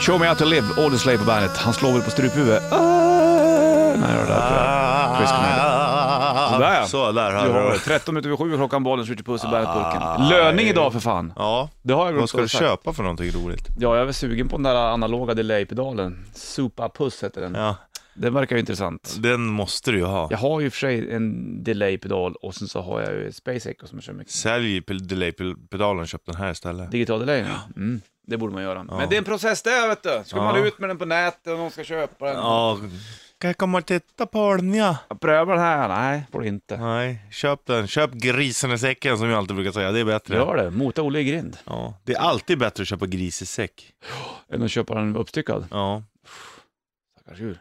Show Me How To Live, Audie Slave på bandet. Han slår väl på struphuvudet. Ah, när jag hör det där, tror jag. Chris Cornell. Sådär ja. Så där har Du har du. 13 minuter över sju klockan, bollen skjuter puss i bandet-burken. Löning idag för fan. Ja. Det har jag glömt Ah, Vad ska du att säga. köpa för någonting roligt? Ja, jag är sugen på den där analoga delay-pedalen. Supa-puss heter den. Ja. Den verkar ju intressant. Den måste du ju ha. Jag har ju i och för sig en delay-pedal och sen så har jag ju Space Echo som jag kör mycket. Sälj pel- delay-pedalen och köp den här istället. Digital delay, mm, det borde man göra. Men det är en process där vet du. Ska man Ja. ut med den på nätet och någon ska köpa den. Ja. Kan jag komma och titta på den ja? Pröva den här, nej får du inte. Nej, köp den. Köp grisen i säcken som jag alltid brukar säga. Det är bättre. Gör det, mota Olle i grind. Ja. Det är alltid bättre att köpa gris i säck. Än att köpa den uppstyckad. Ja. Stackars djur.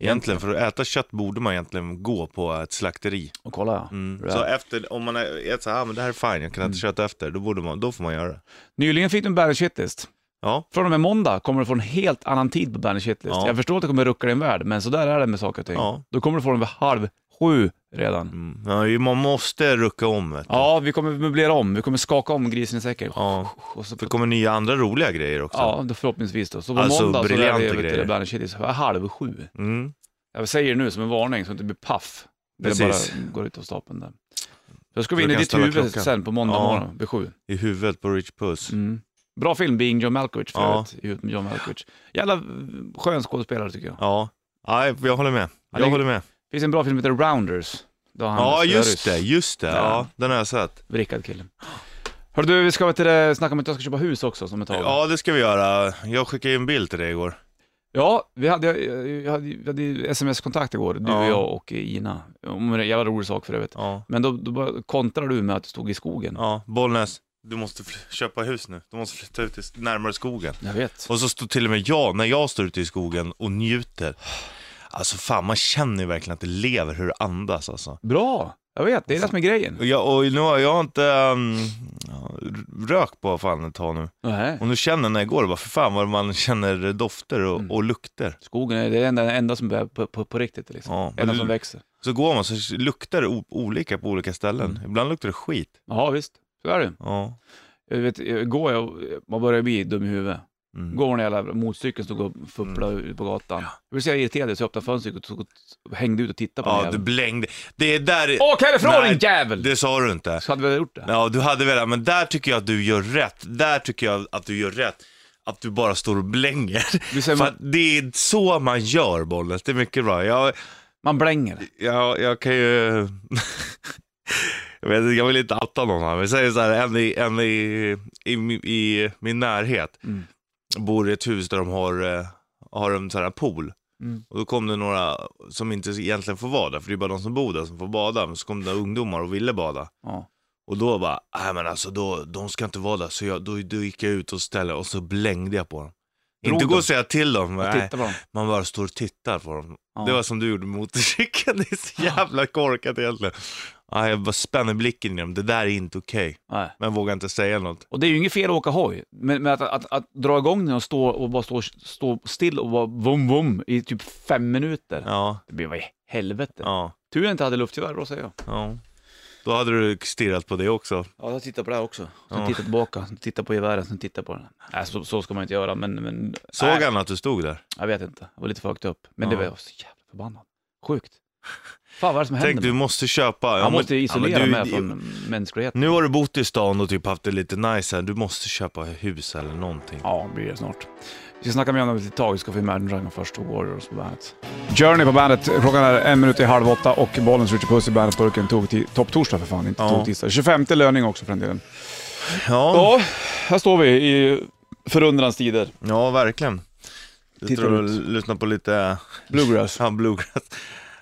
Egentligen, för att äta kött borde man egentligen gå på ett slakteri. Och kolla ja. Mm. Bra. Så efter, om man är äter så här, ah, men det här är fine, jag kan Mm. inte köta efter, då, borde man, då får man göra det. Nyligen fick du en Bandage Shitlist. Ja, Från och med måndag kommer du få en helt annan tid på Bandage Shitlist. Ja. Jag förstår att det kommer rucka din värld, men så där är det med saker och ting. Ja. Då kommer du få den vid halv sju redan. mm. ja ju- man måste rucka om. Vet du. Ja, vi kommer möblera om. Vi kommer skaka om grisen i säcken. ja. Och så För det kommer nya andra roliga grejer också. Ja, då förhoppningsvis då. Så på Alltså, måndag så är briljanta det vet du, grejer. Bandage Shitlist halv sju. Mm. Jag säger det nu som en varning så att det inte blir paff. När det Precis. bara går ut av stapeln där. Då ska vi Du in i kan ditt ställa huvud klockan. sen på måndag Ja. morgon vid sju. I huvudet på Rich Puss. Mm. Bra film, Being John Malkovich för Ja. övrigt. Ihop med John Malkovich. Jävla eh, skön skådespelare tycker jag. Ja, Nej, jag håller med. Ja, Jag det- håller med. Det finns en bra film som heter Rounders. Då han Ja, spelar just ryss. det, just det. Ja. Ja, den har jag sett. Vrickad kille. Hörru du, vi ska vet du, det, snacka om att jag ska köpa hus också som ett tag. Ja, det ska vi göra. Jag skickade ju en bild till dig igår. Ja, vi hade, jag hade, vi hade ju sms-kontakt igår, du Ja. och jag och Ina. Om en jävla rolig sak för övrigt. Ja, Men då, då bara kontrar du med att du stod i skogen. ja. Bollnäs, du måste fl- köpa hus nu. Du måste flytta ut i- närmare skogen. Jag vet. Och så står till och med jag, när jag står ute i skogen och njuter. Alltså fan, man känner ju verkligen att det lever hur det andas alltså. Bra! Jag vet, det är det som är grejen. Och, jag, och nu har jag inte um, ja, r- rökt på fan ett tag nu. Nej. Och nu känner när jag går, bara, för fan vad man känner dofter och, Mm. och lukter. Skogen är det enda, enda som är på, på, på riktigt liksom. Ja, men enda du- som växer. Så går man så luktar det o- olika på olika ställen. Mm. Ibland luktar det skit. Ja, visst. Så är det Ja. Jag vet, jag- går jag, man börjar bli dum i huvudet. Mm. Går den jävla motorcykeln stod och fupplade ut på gatan. Jag vill säga jag irriterade så jag öppnade fönstret och, tog, och hängde ut och tittade på Ja, den du jäveln. blängde. Det är där... Åk härifrån Nej, din jävel! Det sa du inte. Så hade vi gjort det. Ja, du hade velat, men där tycker jag att du gör rätt. Där tycker jag att du gör rätt. Att du bara står och blänger. Du säger För man- att det är så man gör, Bollnäs. Det är mycket bra. Jag, Man blänger. jag, jag kan ju... jag, vet, inte, jag vill inte atta någon här, men jag säger så här, en i, en i, i, mi- i min närhet Mm. bor i ett hus där de har, eh, har en sån här pool. Mm. Och då kom det några som inte egentligen får vara där, för det är bara de som bor där som får bada. Men så kom det ungdomar och ville bada. Ja. Och då bara, nej men alltså då, de ska inte vara där. Så jag, då, då gick jag ut och ställde och så blängde jag på dem. Drog inte gå dem? och säga till dem, Och nej. titta på dem. man bara står och tittar på dem. Ja. Det var som du gjorde med motorcykeln, det är så jävla korkat egentligen. Ja, jag bara spänner blicken i dem, det där är inte okej. Nej. Men jag vågar inte säga något. Och det är ju inget fel att åka hoj, men, men att, att, att dra igång den och stå och bara stå, stå still och bara vum vum i typ fem minuter. Ja, Det blir vad i helvete. ja, Tur jag inte hade luftgevär, då säger jag. ja. Då hade du stirrat på det också. Ja, jag tittar på det här också. Sen Ja. tittar tillbaka, sen tittar på gevären, sen tittar på den. Nej, så, så ska man inte göra, men... men Såg nej, han att du stod där? Jag vet inte, jag var lite för högt upp. Men det Ja. var jag var så jävla förbannad. Sjukt. Fan vad är det som Tänk, händer? du måste köpa. Ja, man men- måste isolera ja, men du- mig från mänskligheten. Nu har du bott i stan och typ haft det lite nice här. Du måste köpa hus eller någonting. Ja, det blir det snart. Vi ska snacka mer om det om ett litet tag. Vi ska få in Imagine Dragon först och Warriors på bandet. Journey på bandet. Klockan är en minut i halv åtta och bollen skjuter puss i bandetburken. Tog till topptorsdag för fan, inte Ja. tog tisdag. 25 löning också för den delen. Ja, Ja, här står vi i förundrans tider. ja verkligen. Du Tittar tror du ut. lyssnar på lite Bluegrass. ja, bluegrass.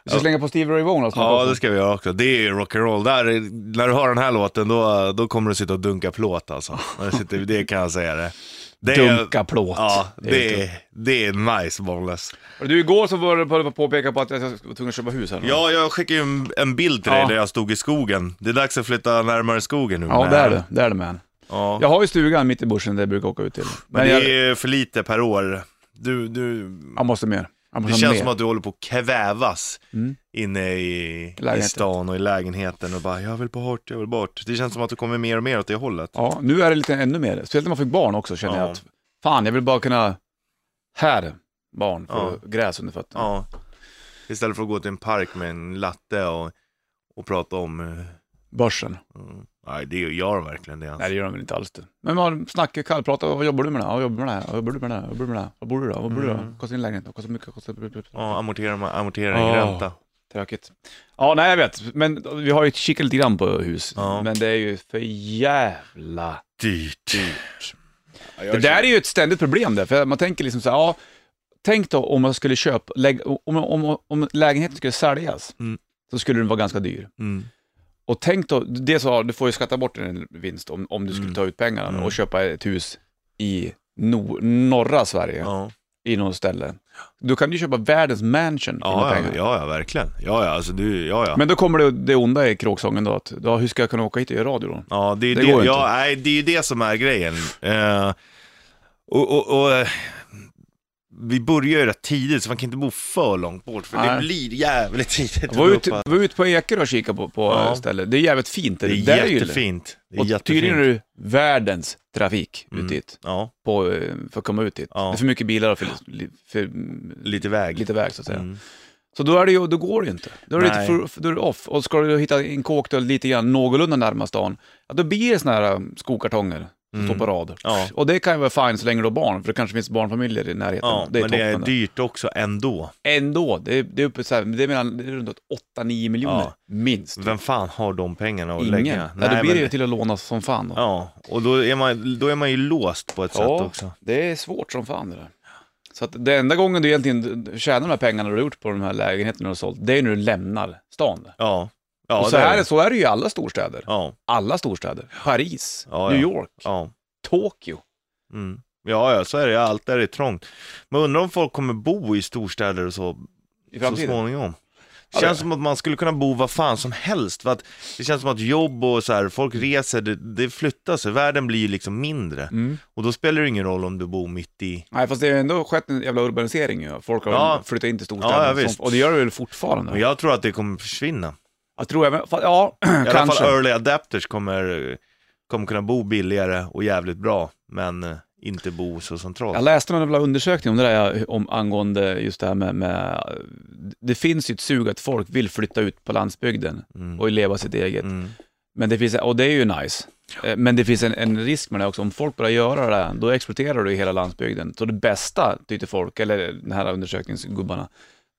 Vi ska slänga på Stevie Ray Vaughan snart Ja, också. det ska vi göra också. Det är ju rock'n'roll. Där, är- när du hör den här låten, då, då kommer du sitta och dunka plåt alltså. När du sitter- Det kan jag säga det. det är- Dunka plåt. Ja, Det är det är, det är nice boneless. Och Du, igår så var du på att påpeka på att jag var tvungen att köpa hus här. nu. Ja, jag skickade ju en, en bild till dig Ja. där jag stod i skogen. Det är dags att flytta närmare skogen nu. ja man. det är det. Det är det man. Ja. Jag har ju stugan mitt i bushen där jag brukar åka ut till. Men, Men det jag, är för lite per år. Du, du, jag måste mer. Jag måste det ha mer. känns som att du håller på att kvävas Mm. inne i, i Lägenheten. stan och i lägenheten och bara jag vill bort, jag vill bort. Det känns som att du kommer mer och mer åt det hållet. Ja, nu är det lite ännu mer. Speciellt när man fick barn också känner Ja. jag att, fan jag vill bara kunna här barn får gräs under fötterna. Ja. Istället för att gå till en park med en latte och, och prata om... eh, Börsen. mm. Nej, det gör verkligen det. Nej, Alltså. det gör de väl inte alls. Det. Men man snackar kallprata, vad jobbar du med det här? Vad jobbar du med det här? Vad jobbar du med det här? Vad jobbar du med det här? Vad bor du då? Vad bor du då? Mm. Kostar din lägenhet då? Kostar mycket? Kostar... bla, bla, bla. Ja, amortering, amortering, Ja. ränta. Tråkigt. Ja, nej jag vet. Men vi har ju kikat lite grann på hus. Ja. Men det är ju för jävla Dyrt. dyrt. Det där är ju ett ständigt problem där, för man tänker liksom så här, ja, tänk då om man skulle köpa, lägg- om, om, om lägenheten skulle säljas, Mm. så skulle den vara ganska dyr. Mm. Och tänk då, det så, du får ju skatta bort en vinst om, om du skulle Mm. ta ut pengarna Mm. och köpa ett hus i no, norra Sverige, Ja. i något ställe. Då kan du ju köpa världens mansion för dina Ja, ja, pengar. ja, ja, verkligen. Ja, ja, alltså du, ja, ja. Men då kommer det, det onda i kråksången då, att ja, hur ska jag kunna åka hit och göra radio då? Ja, det är Det det, går ju ja, inte. nej, det är ju det som är grejen. Eh, och, och, och, eh, vi börjar ju rätt tidigt, så man kan inte bo för långt bort, för det Nej. blir jävligt tidigt. att Jag var gå ute upp. var ut på Ekerö och kikade på, på Ja. stället, det är jävligt fint. det är där ju- jättefint. Det är Och tydligen är jättefint. det världens trafik Mm. ut dit, Ja, på, eh, för att komma ut dit. Ja. Det är för mycket bilar och för, li- för mm, lite väg. lite väg så att säga. Mm. Så då, är det ju, då går det ju inte. Då är det, lite Nej. för, för- då är det off. Och ska du hitta en kåkdörr lite grann någorlunda närmast stan, ja, då blir det såna här um, skokartonger som Mm. står på rad. Ja. Och det kan ju vara fine så länge du har barn, för det kanske finns barnfamiljer i närheten. Ja, det är men det är toppen. dyrt också ändå. Ändå, det är, det är uppe så här, det är mellan det är runt 8-9 miljoner, Ja. minst. Vem fan har de pengarna att Ingen. lägga? Nej, då blir det ju men- till att låna som fan. Då. Ja, och då är, man, då är man ju låst på ett Ja. sätt också. Det är svårt som fan det där. Så att det enda gången du egentligen tjänar de här pengarna du har gjort på de här lägenheterna du har sålt, det är när du lämnar stan. Ja. Ja, och så, det här, det. är så är det ju i alla storstäder. Ja, Alla storstäder. Paris, Ja, ja. New York, ja. Tokyo. Mm. Ja, ja, så är det. ju. Allt där är trångt. Men undrar om folk kommer bo i storstäder och så, I så framtiden. småningom. Ja, det- Det känns som att man skulle kunna bo vad fan som helst. För att det känns som att jobb och så här, folk reser, det, det flyttar sig. Världen blir ju liksom mindre. Mm. Och då spelar det ingen roll om du bor mitt i... Nej, fast det har ändå skett en jävla urbanisering ju. Folk har Ja. flyttat in till storstäderna. Ja, ja, och sånt. visst. och det gör det väl fortfarande? Men jag tror att det kommer försvinna. Jag tror även, fa- ja, I alla fall kanske. early adapters kommer, kommer kunna bo billigare och jävligt bra. Men eh, inte bo så centralt. Jag läste någon jävla undersökning om det där, om, angående just det här med, med... Det finns ju ett sug att folk vill flytta ut på landsbygden Mm. och leva sitt eget. Mm. Men det finns, och det är ju nice. Eh, Men det finns en, en risk med det också. Om folk börjar göra det, här, då exploaterar du hela landsbygden. Så det bästa, tyckte folk, eller den här undersökningsgubbarna,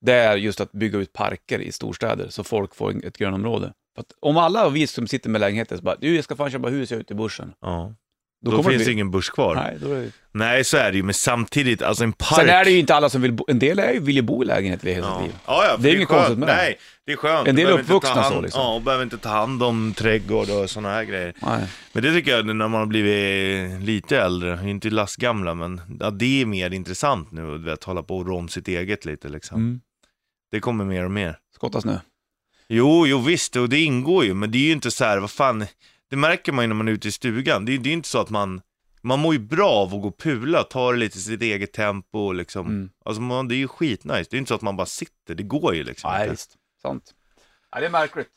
det är just att bygga ut parker i storstäder så folk får en- ett grönområde. För att om alla av vi som sitter med lägenheter så bara, du jag ska fan köpa hus jag är ute i bushen. Ja. Då, Då, kommer finns det det bli- ingen börs kvar. Nej. Nej, då är det... så är det ju. Men samtidigt, alltså en park. Sen är det ju inte alla som vill bo, en del är ju, vill ju bo i lägenhet hela sitt Ja. liv. Ja, ja, för Det är inget skönt. konstigt med det. Nej, det är skönt. En Du del är behöver inte ta uppvuxna hand- så, liksom. Ja, och behöver inte ta hand om trädgård och sådana här grejer. Nej. Men det tycker jag när man har blivit eh, lite äldre, inte lastgamla, men ja, det är mer intressant nu du vet, hålla på och rå om sitt eget lite liksom. Mm. Det kommer mer och mer. Skottas nu. Jo, jo visst, och det ingår ju, men det är ju inte så här, vad fan, det märker man ju när man är ute i stugan. Det, är- det är inte så att man, man mår ju bra av att gå och pula, ta det lite i sitt eget tempo och liksom. Mm. Alltså man, det är ju skitnice, det är inte så att man bara sitter, det går ju liksom Nej, inte. visst. Sant. Ja, det är märkligt.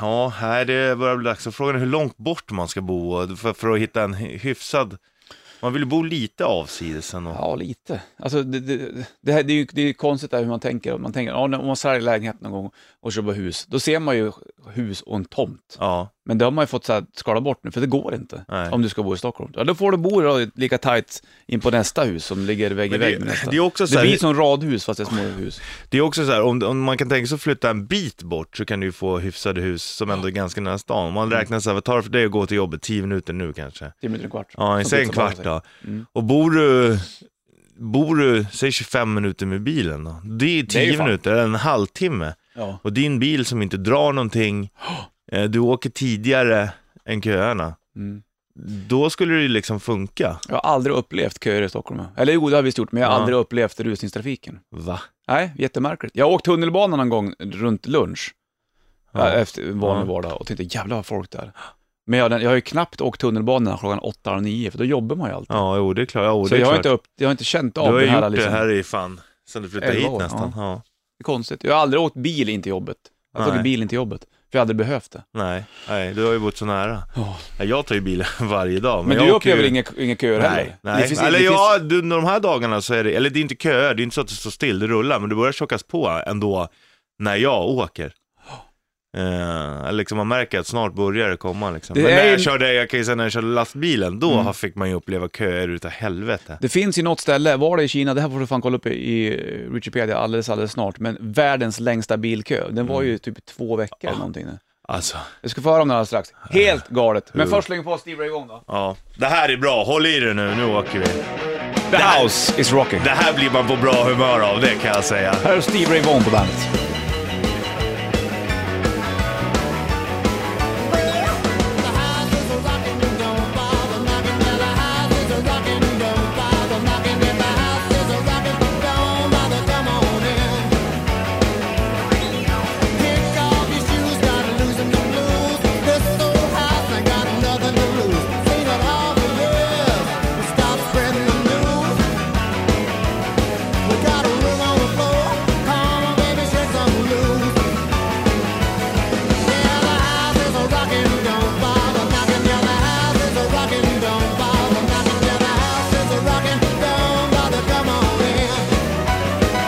Ja, här det börjar bli dags. Så Frågan är hur långt bort man ska bo för, för att hitta en hy- hyfsad... Man vill ju bo lite avsides ändå. Ja, lite. Alltså, det, det, det, här, det, är ju, det är ju konstigt där hur man tänker. Man tänker, ja, om man säljer lägenhet någon gång och köper hus, då ser man ju hus och en tomt. Ja, Men det har man ju fått så här, skala bort nu, för det går inte Nej. om du ska bo i Stockholm. Ja, då får du bo då, lika tajt in på nästa hus som ligger vägg i Men det- vägg med nästa. det är också så det här- blir som radhus fast det är små hus. det är också så här, om, om man kan tänka sig att flytta en bit bort så kan du ju få hyfsade hus som ändå är ganska nära stan. Om man Mm. räknar så här, vad tar det för dig att gå till jobbet? 10 minuter nu kanske? Tio minuter och en kvart. Ja, Som säg en pizzabacken kvart säger. då. Och bor du, bor du, säg 25 minuter med bilen då. Det är 10 ju fan- minuter, eller en halvtimme. Ja. Och din bil som inte drar någonting, eh, du åker tidigare än köerna. Mm. Då skulle det ju liksom funka. Jag har aldrig upplevt köer i Stockholm. Eller jo, det har vi visst gjort, men jag har Ja. aldrig upplevt rusningstrafiken. Va? Nej, jättemärkligt. Jag åkte tunnelbanan en gång runt lunch, ja. Ja. efter en vanlig Ja. vardag, och tänkte jävlar vad folk där. Men jag, jag har ju knappt åkt tunnelbanan klockan åtta och nio, för då jobbar man ju alltid. Ja, jo det är klart. Jo, så det är jag har, klart. inte upp, jag har inte känt du av har det ju här. gjort Liksom. det här i fan, sen du flyttade Elva hit år, nästan. Ja. Det är konstigt. Jag har aldrig åkt bil in till jobbet. Jag har Nej. tagit bil in till jobbet. För jag hade behövt det. Nej, nej, du har ju bott så nära. Ja. Nej, Jag tar ju bilen varje dag. Men, jag du åker ju- upplever inga, inga köer Nej, heller? nej. Det finns- eller det finns- ja, du, de här dagarna så är det, eller det är inte köer, det är inte så att det står still, det rullar, men det börjar tjockas på ändå när jag åker. Eh, liksom man märker att snart börjar det komma liksom. Det men när är Mm. jag ju- körde, jag kan ju säga när jag körde lastbilen, då fick man ju uppleva köer utav helvete. Det finns ju något ställe, var det i Kina, det här får du fan kolla upp i, i Wikipedia alldeles, alldeles snart, men världens längsta bilkö, den var ju typ två veckor eller någonting. Alltså, Jag ska få höra om den alldeles strax. Helt galet! Men först slänger vi på Steve Ray Vaughan då. ja. Det här är bra, håll i dig nu, nu åker vi. The house is rocking. Det här blir man på bra humör av, det kan jag säga. Här är Steve Ray Vaughan på bandet. Got a room on the floor. Come on, baby, shake some loose. Yeah, the house is a rockin', don't bother knockin'. Yeah, the house is a rockin', don't bother knockin'. Yeah, the house is a rockin', don't bother come on in.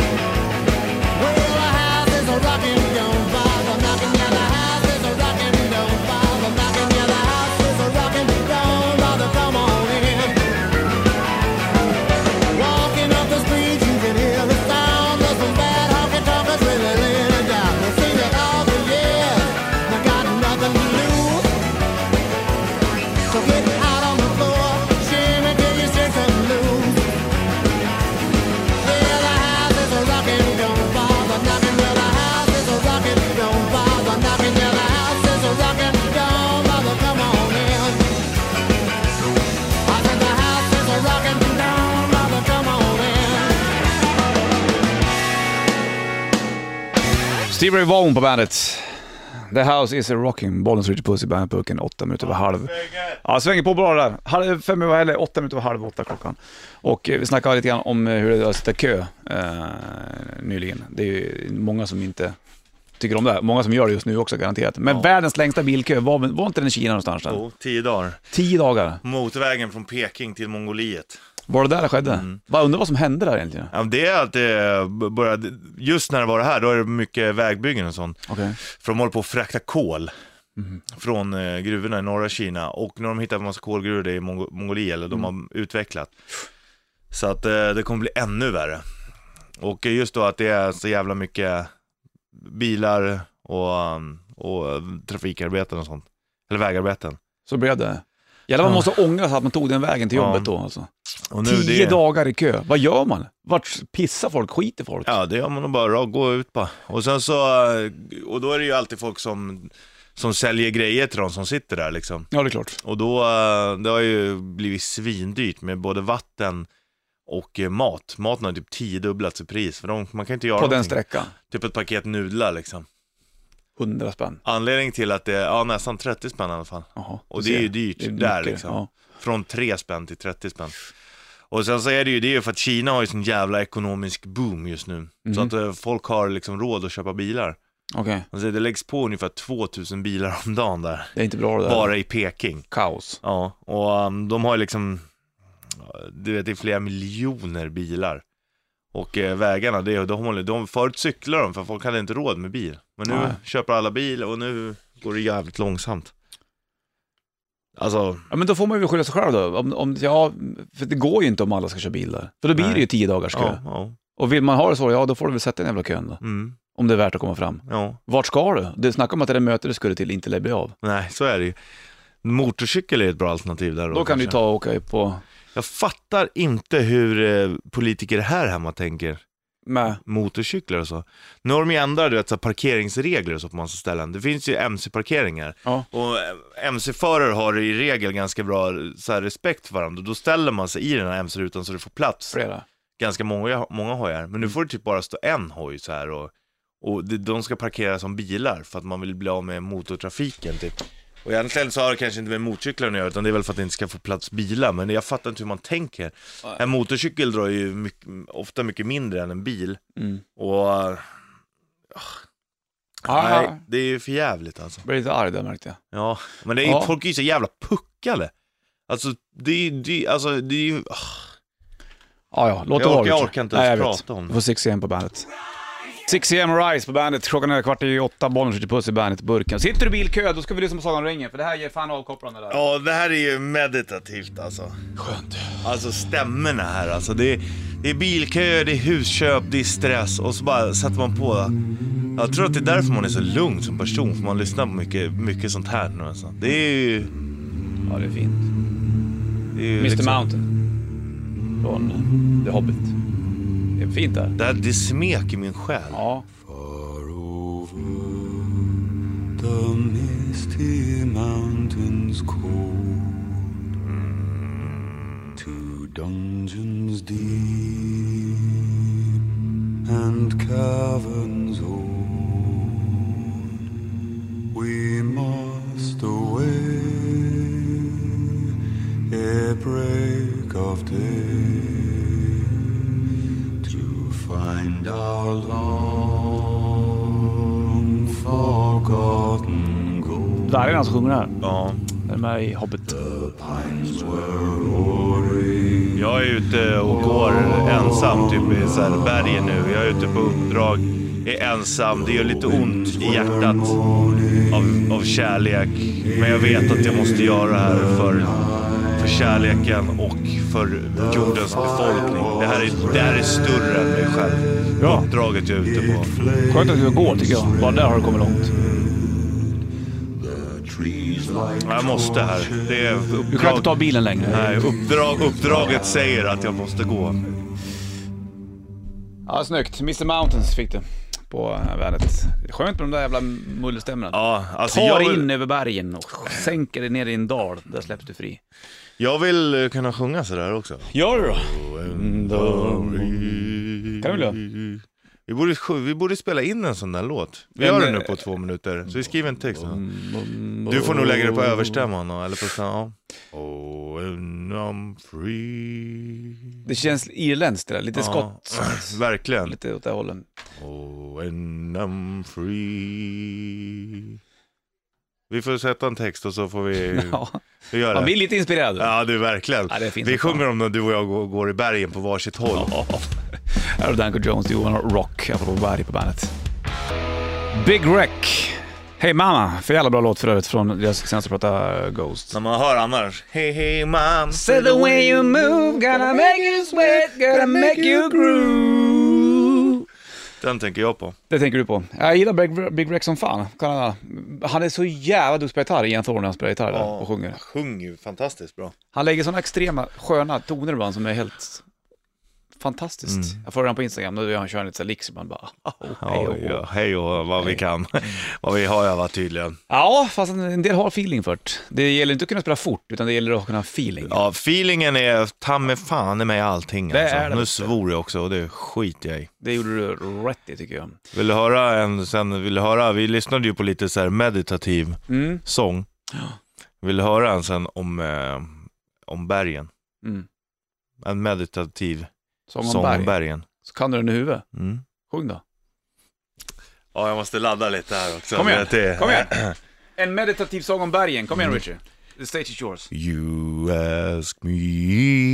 Well, the house is a rockin', don't bother knockin'. Yeah, the house is a rockin', don't bother knockin'. Yeah, the house is a rockin', don't bother come on in. Walking up the street, you can hear the sound of some bad honky talkers really laying down. They sing it all the years, they got nothing to lose. So get out on the floor, shimmy till you shake some loose. Well, the house is a rockin', don't bother knockin'. Well, the house is a rockin', don't bother knockin'. Yeah, the house is a rockin', don't bother come on in. I said the house is a rockin', don't bother come on in. Steve Ray Vaughan på bandet. The house is a rocking. Bollens Ritchie Puss i bandetburken, åtta minuter över halv. Ja, svänger på bra där. Halv fem över, eller åtta minuter över halv åtta klockan. Och eh, vi snackade lite grann om eh, hur det är att sitta i kö eh, nyligen. Det är ju många som inte tycker om det här. Många som gör det just nu också garanterat. Men världens längsta bilkö, var, var inte den i Kina någonstans? Där? Jo, Oh, tio dagar. Tio dagar. Motvägen från Peking till Mongoliet. Var det där det skedde? Mm. Vad undrar vad som hände där egentligen? Ja, det är att det började, just när det var det här, då är det mycket vägbyggen och sånt. Okej. För de håller på att frakta kol från eh, gruvorna i norra Kina. Och när de hittar en massa kolgruvor det är i Mong- Mongoliet, eller de har utvecklat. Så att eh, det kommer bli ännu värre. Och eh, just då att det är så jävla mycket bilar och, um, och eh, trafikarbeten och sånt. Eller vägarbeten. Så blev det. Jävlar man måste ångra sig att man tog den vägen till Ja. jobbet då alltså. Och Tio det, dagar i kö. Vad gör man? Vart pissar folk? Skiter folk? Ja, det gör man nog bara. Gå ut bara. Och sen så, eh, och då är det ju alltid folk som, som säljer grejer till de som sitter där liksom. Ja, det är klart. Och då, eh, det har ju blivit svindyrt med både vatten och eh, mat. Maten har typ tiodubblats i pris, för de, man kan inte göra På den någonting. sträckan. Typ ett paket nudlar liksom. 100 spänn. Anledningen till att det är, ja nästan 30 spänn i alla fall. Jaha, Och du det är ser. ju dyrt är där mycket, liksom. ja. Från 3 spänn till 30 spänn. Och sen så är det ju, det är ju för att Kina har ju sån jävla ekonomisk boom just nu. Så Mhm. att eh, folk har liksom råd att köpa bilar. Okej, Alltså det läggs på ungefär 2000 bilar om dagen där, det är inte bra det där. bara i Peking. kaos. Ja, och um, de har ju liksom, du vet det är flera miljoner bilar. Och eh, vägarna, det, de håller, de, förut cyklade de för folk hade inte råd med bil. Men nu Nej. köper alla bil och nu går det jävligt långsamt. Alltså, Ja, men då får man ju skylla sig själv då. Om, om, ja, för det går ju inte om alla ska köra bil där. För då blir Nej. det ju tio dagars kö. ja, ja, Och vill man ha det så, ja då får du väl sätta den jävla kön då. mm, Om det är värt att komma fram. ja, Vart ska du? Det snackar om att det där mötet du skulle till inte lär bli av. nej så är det ju. Motorcykel är ett bra alternativ där då. Då kan du kanske. ta och åka upp på... Jag fattar inte hur eh, politiker här hemma tänker. Med. Motorcyklar och så. Nu har de ju ändrat du vet, så här, parkeringsregler och så på massa ställen. Det finns ju MC-parkeringar. Ja. Och eh, MC-förare har i regel ganska bra eh, så här, respekt för varandra. Då ställer man sig i den här MC-rutan så du får plats. Flera. Ganska många, många hojar. Men Mm. nu får det typ bara stå en hoj så här och, och det- de ska parkera som bilar för att man vill bli av med motortrafiken typ. Och egentligen så har det kanske inte med motorcyklarna att göra utan det är väl för att det inte ska få plats bilar. Men jag fattar inte hur man tänker. En motorcykel drar ju mycket, ofta mycket mindre än en bil. Mm. Och eh, nej, Aha. det är ju för jävligt alltså. Jag blev lite arg där märkte jag. Ja, men det är, Ja. folk är ju så jävla puckade. Alltså, det är ju, det är, alltså, det är ju, ah, Ja, ja, låt det Jag vara. orkar- jag Richard. orkar inte Nej, ens jag prata vet. om det. Du får 6 am på bandet. 6 am Rise på bandet. Klockan är kvart i åtta, bollen skjuter puss i bandet-burken. Sitter du i bilkö, då ska vi lyssna på Sagan om ringen, för det här ger fan avkopplande där. Ja, det här är ju meditativt alltså. Skönt. Alltså stämmorna här alltså. Det är, det är bilköer, det är husköp, det är stress och så bara sätter man på. Jag tror att det är därför man är så lugn som person, för man lyssnar på mycket, mycket sånt här nu alltså. Det är ju... Ja, det är fint. Det är ju liksom Mr Mountain. Från eh, The Hobbit. Det är fint där. Det, här, det är smek i min själ. Ja. Far over the misty mountains cold to dungeons deep and caverns old we must away a break of day to find our long forgotten gold. Där är han som sjunger här. Ja. Den är med i Hobbit. Pines were roaring. Jag är ute och går ensam typ i så här bergen nu. Jag är ute på uppdrag, är ensam. Det gör lite ont i hjärtat av, av kärlek. Men jag vet att jag måste göra det här för, för kärleken och för jordens befolkning. Det här är, det här är större än mig själv. Ja. Uppdraget jag är ute på. Skönt att du går tycker jag. Bara där har du kommit långt. Trees like Jag måste här. Det är Du kan inte ta uppdrag. bilen längre. Nej, uppdrag, uppdraget säger att jag måste gå. Ja, snyggt. Mr Mountains fick du på eh, bandet. Skönt med de där jävla mullerstämmorna. Ja, alltså Tar jag dig vill- in över bergen och sänker dig ner i en dal. Där släpps du fri. Jag vill eh, kunna sjunga sådär också. Gör du då? Mm. Kan du Kan väl vi borde, sj- vi borde spela in en sån där låt. Vi Men, gör det eh, nu på två minuter, så vi skriver en text. Du får nog lägga det på överstämman, och- eller på sån, ja. Oh, and I'm free. Det känns irländskt det där. Lite Ja, skott. Verkligen. Lite åt det hållet. Oh, and I'm free. Vi får sätta en text och så får vi, Ja. vi göra Man det. blir lite inspirerad. Ja, du verkligen. Ja, det är fint som vi fan. sjunger om när du och jag går, går i bergen på varsitt håll. Här har du Danko Jones, Johan Rock, apropå berg på bandet. Big Wreck. Hey Mama, för jävla bra låt för övrigt från deras senaste platta uh, Ghost. Som man hör annars. Hey hey mom. Say the way you move, gonna make you sweat, gonna make you groove. Den tänker jag på. Det tänker du på. Jag gillar Big, Big Rex som fan. Kan han- Han är så jävla duktig på gitarr, Ian Thorne, när han spelar gitarr där och sjunger. Han sjunger ju fantastiskt bra. Han lägger sådana extrema, sköna toner ibland som är helt fantastiskt. Jag följer honom på Instagram, då gör han kör lite så här licks ibland bara. ah, oh, hej, Mm. oh. Ja, ja, hej och vad vi kan. vad vi har övat tydligen. Ja, fast en- en del har feeling för det. Det gäller inte att kunna spela fort, utan det gäller att kunna ha feeling. Ja, feelingen är ta mig fan i mig allting Det alltså. är det, Nu vet du. svor jag också och det skiter jag i. Det gjorde du rätt i tycker jag. Vill du höra en, sen, vill du höra, vi lyssnade ju på lite så här meditativ Mm. sång. Vill du höra en sen om, eh, om bergen? Mm. En meditativ Sång om sång om berg. bergen. Så kan du den i huvudet. Mm. Sjung då. Ja, jag måste ladda lite här också. Kom igen, Det är- kom igen. En meditativ sång om bergen. Kom Mm. igen Richard. The stage is yours. You ask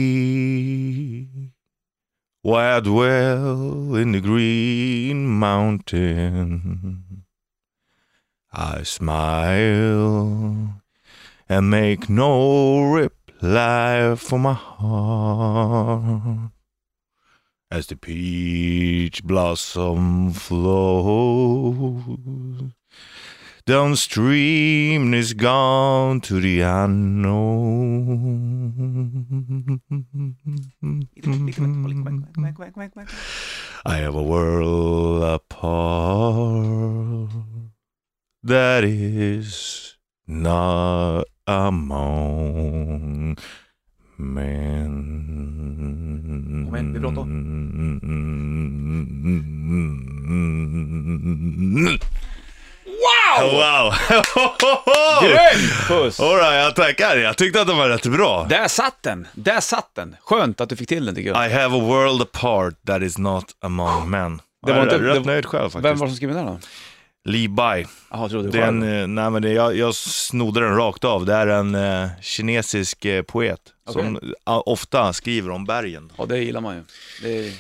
me why I dwell in the green mountain. I smile and make no reply for my heart as the peach blossom flows Downstream is gone to the unknown. I have a world apart that is not among men. Moment, det är bråttom. Wow! Wow! Grym puss! All right, jag tackar. Jag tyckte att den var rätt bra. Där satt den! Där satt den! Skönt att du fick till den tycker jag. I have a world apart that is not among men. Det var jag inte- är rätt det- nöjd själv faktiskt. Vem var det som skrev den då? Lee Bai. Jaha, jag trodde Det du är en, själv. eh, nej men det, jag, jag snodde den rakt av. Det är en eh, kinesisk eh, poet som eh, ofta skriver om bergen. Ja, det gillar man ju. Det är...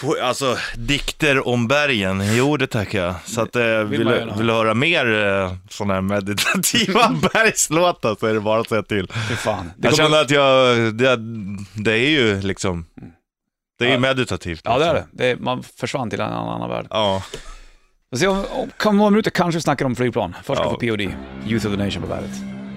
Po- alltså, dikter om bergen. Jo, det tackar jag. Så att, eh, vill vill, man gärna ha. vill du höra mer eh, sådana här meditativa bergslåtar så är det bara att säga till. Fy fan. Det Jag kommer- känner att jag, det, det är ju liksom, det är ju meditativt. Ja, det är liksom. det. det är, man försvann till en annan, annan värld. Ja. Vi får se om, om, om några minuter kanske vi snackar om flygplan. Först ska vi Ja. få POD, Youth of the Nation på bandet.